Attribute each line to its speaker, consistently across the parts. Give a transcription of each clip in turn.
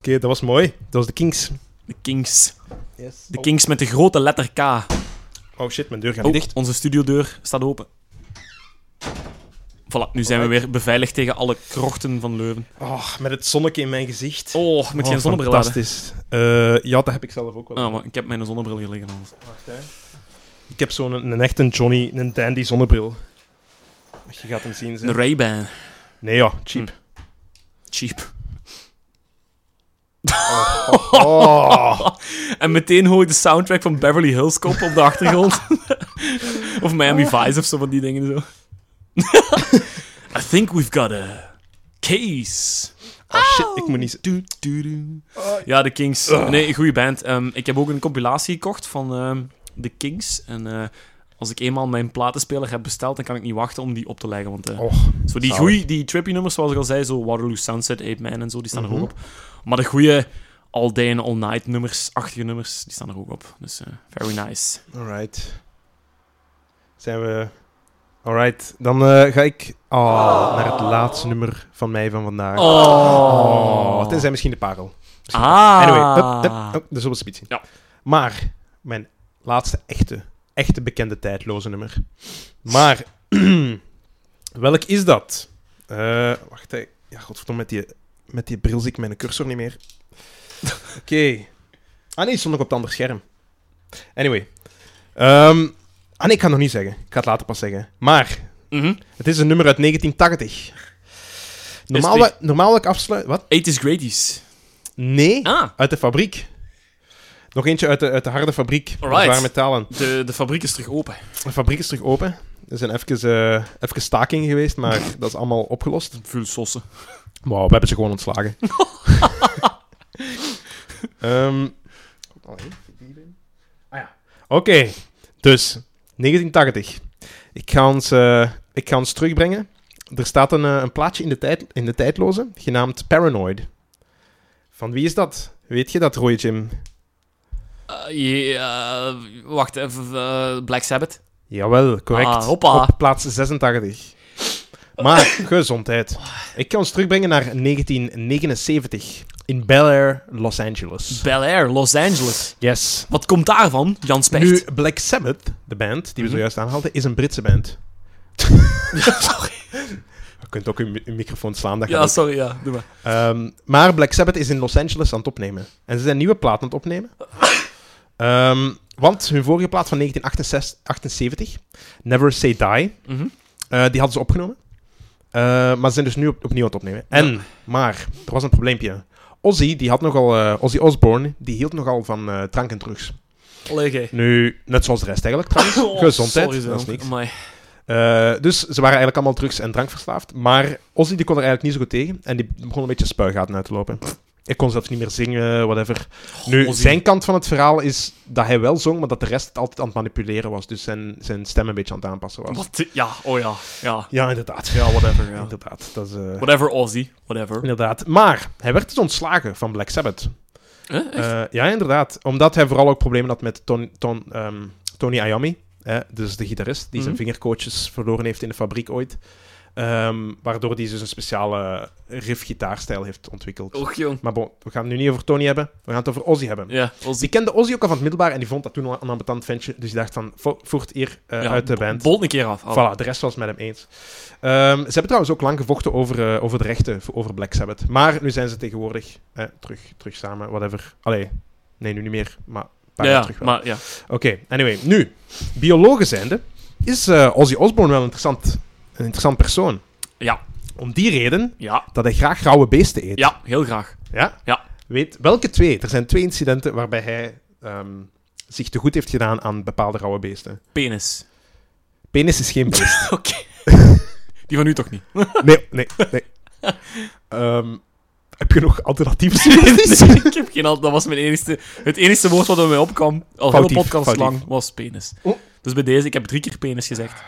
Speaker 1: dat was mooi. Dat was de Kings.
Speaker 2: De Kings.
Speaker 1: Yes.
Speaker 2: De
Speaker 1: oh.
Speaker 2: Kings met de grote letter K.
Speaker 1: Oh shit, mijn deur gaat
Speaker 2: Oh,
Speaker 1: dicht.
Speaker 2: Onze studiodeur staat open. Voilà, nu zijn we weer beveiligd tegen alle krochten van Leuven.
Speaker 1: Oh, met het zonnetje in mijn gezicht.
Speaker 2: Oh, met geen
Speaker 1: Oh,
Speaker 2: zonnebril aan.
Speaker 1: Fantastisch. Eh, ja, dat heb ik zelf ook wel.
Speaker 2: Ah, maar ik heb mijn zonnebril hier liggen. anders.
Speaker 1: Wacht, hè. Ik heb zo'n een, een echte Johnny, een dandy zonnebril. Je gaat hem zien.
Speaker 2: Een
Speaker 1: zeg.
Speaker 2: Ray-Ban.
Speaker 1: Nee ja, cheap.
Speaker 2: Cheap.
Speaker 1: Oh.
Speaker 2: En meteen hoor ik de soundtrack van Beverly Hills Cop op de achtergrond. of Miami
Speaker 1: Oh.
Speaker 2: Vice of zo van die dingen zo. I think we've got a case.
Speaker 1: Oh, shit, ik moet niet...
Speaker 2: Du- du- du. Oh. Ja, de Kings.
Speaker 1: Oh.
Speaker 2: Nee, goede band. Ehm, ik heb ook een compilatie gekocht van ehm, de Kings. En eh, als ik eenmaal mijn platenspeler heb besteld, dan kan ik niet wachten om die op te leggen. Want eh,
Speaker 1: Oh,
Speaker 2: zo die,
Speaker 1: zalig.
Speaker 2: goeie, die trippy nummers, zoals ik al zei, zo Waterloo Sunset, Ape Man en zo, die staan
Speaker 1: Mhm.
Speaker 2: er ook op. Maar de goede All Day and All Night nummers, achtige nummers, die staan er ook op. Dus eh, very nice.
Speaker 1: Oh. alright. Zijn we... Alright, dan eh, ga ik oh, naar het laatste nummer van mij van vandaag.
Speaker 2: Oh.
Speaker 1: tenzij misschien de parel.
Speaker 2: Ah.
Speaker 1: Anyway, hup, hup, hup, Oh, dat zullen we speed zien.
Speaker 2: Ja.
Speaker 1: Maar, mijn laatste echte, echte bekende tijdloze nummer. Maar, welk is dat? Eh, wacht, hè. ja, godverdomme, met die, met die bril zie ik mijn cursor niet meer. Oké. Ah nee, stond nog op het andere scherm. Anyway. Ehm, ah nee, ik ga het nog niet zeggen. Ik ga het later pas zeggen. Maar,
Speaker 2: Mhm.
Speaker 1: het is een nummer uit 1980. Normaal,
Speaker 2: die-
Speaker 1: wa- normaal ik afsluit... Wat?
Speaker 2: 80s Gradies.
Speaker 1: Nee.
Speaker 2: Ah,
Speaker 1: Uit de fabriek. Nog eentje uit de, uit de harde fabriek. Met
Speaker 2: Alright.
Speaker 1: zware metalen.
Speaker 2: de, de fabriek is terug open.
Speaker 1: De fabriek is terug open. Er zijn even, eh, even staking geweest, maar dat is allemaal opgelost.
Speaker 2: Veel sossen.
Speaker 1: Wauw, we hebben ze gewoon ontslagen. Ehm, ah ja. Oké, dus 1980. Ik ga ons, eh, ik ga ons terugbrengen. Er staat een, eh, een plaatje in de, tijd, in de tijdloze, genaamd Paranoid. Van wie is dat? Weet je dat, Roy Jim?
Speaker 2: Eh, je- eh, wacht even, eh, Black Sabbath.
Speaker 1: Jawel, correct.
Speaker 2: Ah, hoppa.
Speaker 1: Op plaats 86. Maar, gezondheid. Ik kan ons terugbrengen naar 1979. In Bel Air, Los Angeles.
Speaker 2: Bel Air, Los Angeles.
Speaker 1: Yes.
Speaker 2: Wat komt daarvan, Jan Specht?
Speaker 1: Nu, Black Sabbath, de band die we
Speaker 2: Mhm.
Speaker 1: zojuist aanhaalden, is een Britse band. Je kunt ook uw mi- uw microfoon slaan, dat gaat
Speaker 2: ja,
Speaker 1: ook.
Speaker 2: sorry, ja, doe maar.
Speaker 1: Ehm, maar Black Sabbath is in Los Angeles aan het opnemen. En ze zijn nieuwe plaat aan het opnemen. Ehm, want hun vorige plaat van 1978, Never Say Die,
Speaker 2: Mhm.
Speaker 1: Eh, die hadden ze opgenomen. Eh, maar ze zijn dus nu op- opnieuw aan het opnemen. En, maar, er was een probleempje. Ozzy, die had nogal, eh, Ozzy Osbourne, die hield nogal van eh, drank en drugs.
Speaker 2: Allee, gij.
Speaker 1: Nu, net zoals de rest eigenlijk trouwens.
Speaker 2: Oh,
Speaker 1: Gezondheid,
Speaker 2: sorry,
Speaker 1: dat is
Speaker 2: zo.
Speaker 1: niks.
Speaker 2: Amai.
Speaker 1: Eh, dus ze waren eigenlijk allemaal drugs en drank verslaafd. Maar Ozzy die kon er eigenlijk niet zo goed tegen. En die begon een beetje spuigaten uit te lopen. Ik kon zelfs niet meer zingen, whatever. Nu,
Speaker 2: Oh, Ozzy.
Speaker 1: zijn kant van het verhaal is dat hij wel zong, maar dat de rest het altijd aan het manipuleren was. Dus zijn, zijn stem een beetje aan het aanpassen was.
Speaker 2: Wat? Ja, oh ja. Ja,
Speaker 1: Ja, inderdaad.
Speaker 2: ja whatever. Ja.
Speaker 1: Inderdaad. Dat is, eh,
Speaker 2: Whatever, Ozzy. Whatever.
Speaker 1: Inderdaad. Maar hij werd dus ontslagen van Black Sabbath.
Speaker 2: Eh, echt?
Speaker 1: Eh, ja, inderdaad. Omdat hij vooral ook problemen had met Ton, Ton, ehm, Tony Iommi. Hè, dus de gitarist die zijn
Speaker 2: Mhm.
Speaker 1: vingercoaches verloren heeft in de fabriek ooit. Ehm, waardoor hij dus een speciale riff-gitaarstijl heeft ontwikkeld.
Speaker 2: Och, jong.
Speaker 1: Maar bon, we gaan het nu niet over Tony hebben. We gaan het over Ozzy hebben.
Speaker 2: Oh. Ja, Ozzy.
Speaker 1: Die kende Ozzy ook al van het middelbaar en die vond dat toen al een ambetant ventje. Dus die dacht van, vo- voert hier eh,
Speaker 2: Ja,
Speaker 1: uit de band.
Speaker 2: Bolt een keer af. Oh.
Speaker 1: Voilà, de rest was het met hem eens. Ehm, ze hebben trouwens ook lang gevochten over, eh, over de rechten, voor- over Black Sabbath. Maar nu zijn ze tegenwoordig eh, terug, terug samen, whatever. Allee, nee, nu niet meer, maar een paar
Speaker 2: Ja,
Speaker 1: jaar
Speaker 2: ja,
Speaker 1: terug wel.
Speaker 2: maar ja.
Speaker 1: Oké, anyway. Nu, biologen zijnde, is eh, Ozzy Osbourne wel een interessant, een interessant persoon.
Speaker 2: Ja.
Speaker 1: Om die reden
Speaker 2: Ja,
Speaker 1: dat hij graag rauwe beesten eet.
Speaker 2: ja, heel graag.
Speaker 1: Ja?
Speaker 2: Ja.
Speaker 1: Weet welke twee? Er zijn twee incidenten waarbij hij ehm, zich te goed heeft gedaan aan bepaalde rauwe beesten.
Speaker 2: Penis.
Speaker 1: Penis is geen beest.
Speaker 2: Oké. Die van u toch niet?
Speaker 1: Nee, nee, nee. Ehm, heb je nog alternatieven?
Speaker 2: Nee, Dus ik heb geen al- Dat was mijn enigste... Het enigste woord wat er mij opkwam, al
Speaker 1: Foutief,
Speaker 2: heel podcast
Speaker 1: foutief.
Speaker 2: lang, was penis.
Speaker 1: Oh.
Speaker 2: Dus bij deze, ik heb drie keer penis gezegd.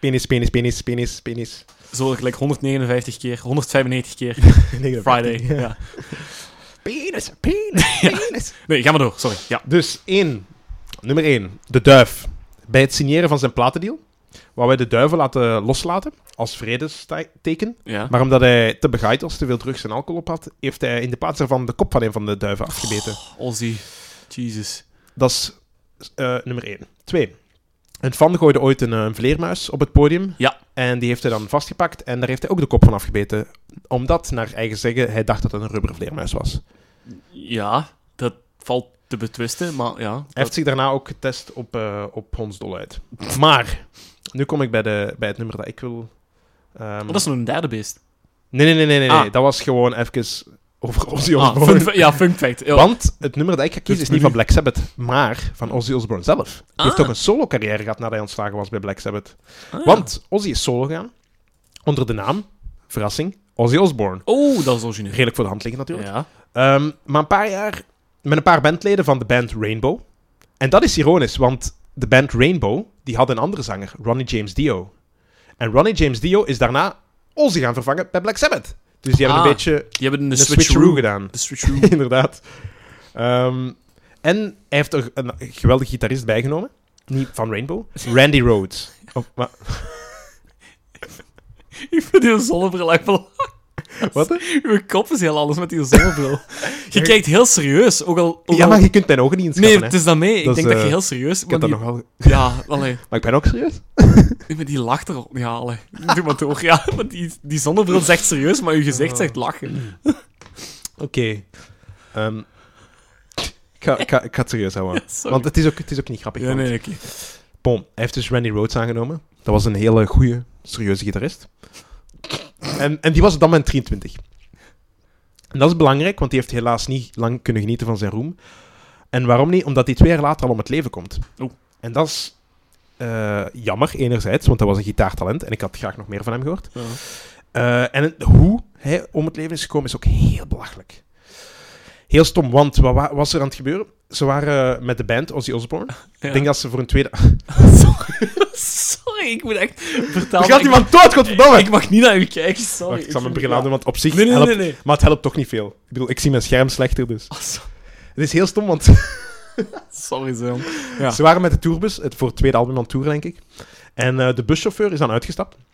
Speaker 1: Penis, penis, penis, penis, penis.
Speaker 2: Zo gelijk 159 keer, 195 keer.
Speaker 1: Nee, dat-
Speaker 2: Friday. Ja.
Speaker 1: Penis, penis, penis.
Speaker 2: Nee, ga maar door. Sorry. Ja.
Speaker 1: Dus één. Nummer één. De duif. Bij het signeren van zijn platendeal wou wij de duivel laten loslaten als vredesteken.
Speaker 2: Ja.
Speaker 1: Maar omdat hij te begaaid was, te veel drugs en alcohol op had, heeft hij in de plaats daarvan de kop van een van de duiven afgebeten.
Speaker 2: Ozzy. Jesus.
Speaker 1: Dat is eh, nummer 1. 2. Een fan gooide ooit een, eh, een vleermuis op het podium.
Speaker 2: Ja.
Speaker 1: En die heeft hij dan vastgepakt en daar heeft hij ook de kop van afgebeten. Omdat, naar eigen zeggen, hij dacht dat het een rubbervleermuis was. Hij
Speaker 2: Ja, dat valt te betwisten, maar ja.
Speaker 1: heeft zich daarna ook getest op, eh op hondsdolheid. Maar, nu kom ik bij, de, bij het nummer dat ik wil... ehm,
Speaker 2: Oh, dat is nog een derde beest.
Speaker 1: Nee, nee, nee, nee, nee.
Speaker 2: Ah.
Speaker 1: nee. Dat was gewoon even over Ozzy
Speaker 2: Ah,
Speaker 1: Osbourne.
Speaker 2: fun fa- ja, fun fact. Ja.
Speaker 1: Want het nummer dat ik ga kiezen
Speaker 2: Het
Speaker 1: is niet
Speaker 2: menu.
Speaker 1: van Black Sabbath, maar van Ozzy Osbourne zelf. Die
Speaker 2: Ah.
Speaker 1: heeft ook een solo-carrière gehad nadat hij ontslagen was bij Black Sabbath.
Speaker 2: Ah, ja.
Speaker 1: Want Ozzy is solo gegaan onder de naam, verrassing, Ozzy Osbourne.
Speaker 2: Oh, dat is origineel.
Speaker 1: Redelijk voor de hand liggen natuurlijk.
Speaker 2: Ja.
Speaker 1: Ehm, maar een paar jaar met een paar bandleden van de band Rainbow. En dat is ironisch, want de band Rainbow die had een andere zanger, Ronnie James Dio. En Ronnie James Dio is daarna Ozzy gaan vervangen bij Black Sabbath. Dus die hebben
Speaker 2: Ah.
Speaker 1: een beetje
Speaker 2: Die hebben de
Speaker 1: een
Speaker 2: switcheroo.
Speaker 1: switcheroo gedaan.
Speaker 2: De switcheroo.
Speaker 1: inderdaad. Ehm, en hij heeft er een geweldige gitarist bijgenomen. Niet van Rainbow. Randy Rhodes. Oh, maar,
Speaker 2: Ik vind die zonnebril echt wel...
Speaker 1: wat?
Speaker 2: Uw kop is heel anders met die zonnebril. Je kijkt heel serieus, ook al... ook
Speaker 1: Ja,
Speaker 2: al-
Speaker 1: maar je kunt mijn ogen niet inschatten.
Speaker 2: Nee,
Speaker 1: hè.
Speaker 2: het is dat mee. Ik
Speaker 1: Dat is,
Speaker 2: denk dat je
Speaker 1: eh,
Speaker 2: heel serieus...
Speaker 1: Ik heb
Speaker 2: maar
Speaker 1: dat
Speaker 2: die-
Speaker 1: nogal...
Speaker 2: Ja, allee.
Speaker 1: Maar ik ben ook serieus.
Speaker 2: Nee, maar die lacht erop. Ja, allee. Doe maar door. Ja, maar die, die zonnebril zegt serieus, maar uw gezicht zegt
Speaker 1: Hmm.
Speaker 2: lachen.
Speaker 1: Oké. Ehm, ik, ga, ik, ga, ik ga het serieus houden.
Speaker 2: Sorry.
Speaker 1: Want het is ook, het is ook niet grappig.
Speaker 2: Ja,
Speaker 1: want-
Speaker 2: nee, oké.
Speaker 1: Bon, hij heeft dus Randy Rhodes aangenomen. Dat was een hele goede, serieuze gitarist. En, en die was op dat moment 23. En dat is belangrijk, want die heeft helaas niet lang kunnen genieten van zijn roem. En waarom niet? Omdat hij twee jaar later al om het leven komt.
Speaker 2: Oeh.
Speaker 1: En dat is eh, jammer, enerzijds, want dat was een gitaartalent en ik had graag nog meer van hem gehoord.
Speaker 2: Ja.
Speaker 1: Eh, en het- hoe hij om het leven is gekomen is ook heel belachelijk. Heel stom, want wat wa- was er aan het gebeuren? Ze waren eh, met de band Ozzy Osbourne.
Speaker 2: Ja.
Speaker 1: Ik denk dat ze voor een tweede...
Speaker 2: Sorry. Sorry, ik moet echt vertalen.
Speaker 1: Er gaat
Speaker 2: Ik-
Speaker 1: iemand dood, godverdomme!
Speaker 2: Ik mag niet naar u kijken, sorry.
Speaker 1: Wacht, ik zal mijn
Speaker 2: vind-
Speaker 1: bril aan doen, want op zich
Speaker 2: Nee, nee,
Speaker 1: helpt...
Speaker 2: nee, nee.
Speaker 1: Maar het helpt toch niet veel. Ik bedoel, ik zie mijn scherm slechter, dus...
Speaker 2: Ah, so-
Speaker 1: Het is heel stom, want
Speaker 2: sorry, Zeon. Ja.
Speaker 1: ze waren met de tourbus, het voor het tweede album aan tour, denk ik. En eh, de buschauffeur is dan uitgestapt. En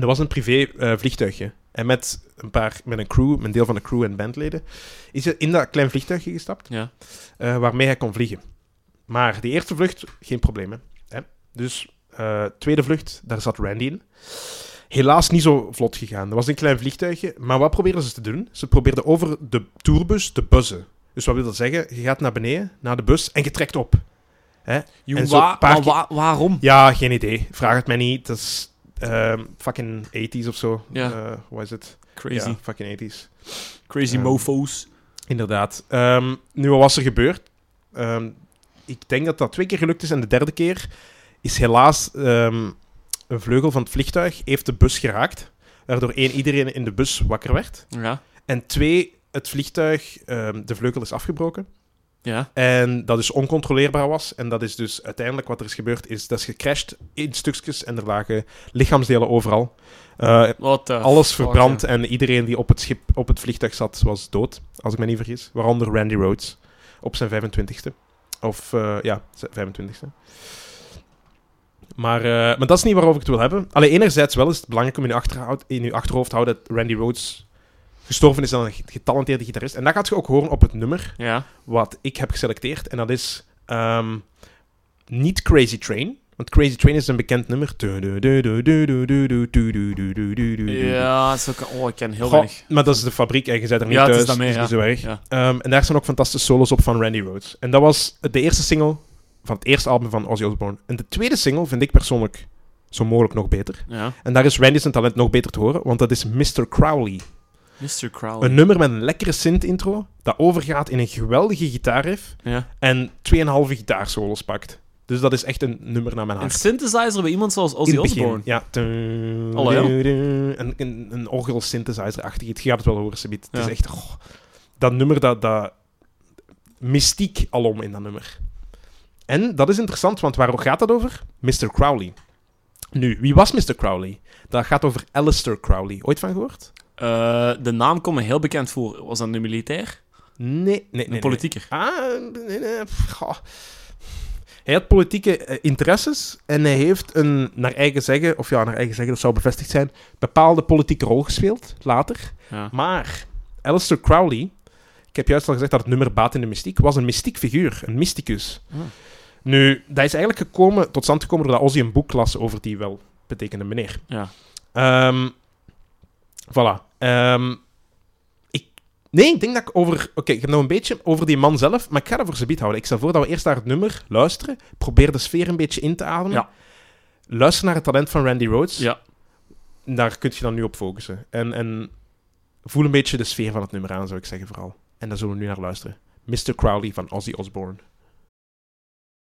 Speaker 1: dat was een privé eh, vliegtuigje. En met een, paar, met een crew, met een deel van de crew en bandleden, is hij in dat klein vliegtuigje gestapt.
Speaker 2: Ja.
Speaker 1: eh, waarmee hij kon vliegen. Maar die eerste vlucht, geen probleem. Hè? Hè? Dus eh, tweede vlucht, daar zat Randy in. Helaas niet zo vlot gegaan. Dat was een klein vliegtuigje. Maar wat probeerden ze te doen? Ze probeerden over de tourbus te buzzen. Dus wat wil dat zeggen? Je gaat naar beneden, naar de bus en je trekt op.
Speaker 2: Joe,
Speaker 1: En zo
Speaker 2: wa-
Speaker 1: een paar
Speaker 2: maar wa- waarom?
Speaker 1: Ja, geen idee. Vraag het mij niet. Dat is ehm, fucking 80s of zo.
Speaker 2: Ja.
Speaker 1: Eh, wat is het?
Speaker 2: Crazy.
Speaker 1: Ja, fucking 80s.
Speaker 2: Crazy
Speaker 1: Ehm,
Speaker 2: mofo's.
Speaker 1: Inderdaad. Ehm, nu, wat was er gebeurd? Ehm, ik denk dat dat twee keer gelukt is en de derde keer is helaas ehm, een vleugel van het vliegtuig heeft de bus geraakt. Waardoor één, iedereen in de bus wakker werd.
Speaker 2: Ja.
Speaker 1: En twee, het vliegtuig, ehm, de vleugel is afgebroken.
Speaker 2: Ja.
Speaker 1: En dat dus oncontroleerbaar was. En dat is dus uiteindelijk wat er is gebeurd, is dat is gecrashed in stukjes en er lagen lichaamsdelen overal. Eh,
Speaker 2: Wat eh,
Speaker 1: alles
Speaker 2: fuck,
Speaker 1: verbrand
Speaker 2: ja.
Speaker 1: en iedereen die op het, schip, op het vliegtuig zat was dood, als ik me niet vergis. Waaronder Randy Rhodes op zijn 25ste. Of eh, ja, zijn 25ste. Maar, eh, maar dat is niet waarover ik het wil hebben. Alleen enerzijds wel is het belangrijk om in je, achterhoud, in je achterhoofd te houden dat Randy Rhodes gestorven is aan een ge- getalenteerde gitarist. En dat gaat je ook horen op het nummer
Speaker 2: Ja.
Speaker 1: wat ik heb geselecteerd. En dat is ehm, niet Crazy Train. Want Crazy Train is een bekend nummer.
Speaker 2: Ja, zo kan- oh, ik ken heel
Speaker 1: Goh,
Speaker 2: weinig.
Speaker 1: Maar dat is de fabriek en je zit er niet
Speaker 2: Ja, het
Speaker 1: thuis,
Speaker 2: is daarmee,
Speaker 1: dus
Speaker 2: ja.
Speaker 1: niet zo erg.
Speaker 2: Ja.
Speaker 1: Ehm, en daar staan ook fantastische solos op van Randy Rhodes. En dat was de eerste single van het eerste album van Ozzy Osbourne. En de tweede single vind ik persoonlijk zo mogelijk nog beter.
Speaker 2: Ja.
Speaker 1: En daar is Randy zijn talent nog beter te horen, want dat is Mr. Crowley.
Speaker 2: Mr. Crowley.
Speaker 1: Een nummer met een lekkere synth-intro, dat overgaat in een geweldige gitaarriff
Speaker 2: Ja.
Speaker 1: en 2,5 gitaarsolos pakt. Dus dat is echt een nummer naar mijn
Speaker 2: Een
Speaker 1: hart.
Speaker 2: synthesizer bij iemand zoals Ozzy
Speaker 1: In het begin,
Speaker 2: Osbourne.
Speaker 1: Ja.
Speaker 2: Allee, ja.
Speaker 1: Een, een, een orgel-synthesizer-achtig iets. Je gaat het wel horen, Sabit. Het
Speaker 2: Ja.
Speaker 1: is echt... goh, dat nummer, dat, dat... Mystiek alom in dat nummer. En dat is interessant, want waarom gaat dat over? Mr. Crowley. Nu, wie was Mr. Crowley? Dat gaat over Alistair Crowley. Ooit van gehoord?
Speaker 2: Eh, de naam komt me heel bekend voor. Was dat een militair?
Speaker 1: Nee, nee, nee.
Speaker 2: Een politieker?
Speaker 1: Nee. Ah, nee, nee. pff, goh. Hij had politieke eh, interesses en hij heeft een, naar eigen zeggen, of ja, naar eigen zeggen, dat zou bevestigd zijn, bepaalde politieke rol gespeeld, later.
Speaker 2: Ja.
Speaker 1: Maar Aleister Crowley, ik heb juist al gezegd dat het nummer Baat in de Mystiek, was een mystiek figuur, een mysticus.
Speaker 2: Ah.
Speaker 1: Nu, dat is eigenlijk gekomen, tot stand gekomen doordat Ozzy een boek las over die wel betekende meneer.
Speaker 2: Ja.
Speaker 1: Ehm, voilà. Ehm, ik, nee, ik denk dat ik over... Oké, ik heb nog een beetje over die man zelf, maar ik ga dat voor ze houden. Ik stel voor dat we eerst naar het nummer luisteren, probeer de sfeer een beetje in te ademen.
Speaker 2: Ja.
Speaker 1: Luister naar het talent van Randy Rhodes.
Speaker 2: Ja.
Speaker 1: Daar kun je dan nu op focussen. En, en voel een beetje de sfeer van het nummer aan, zou ik zeggen vooral. En daar zullen we nu naar luisteren. Mr. Crowley van Ozzy Osbourne.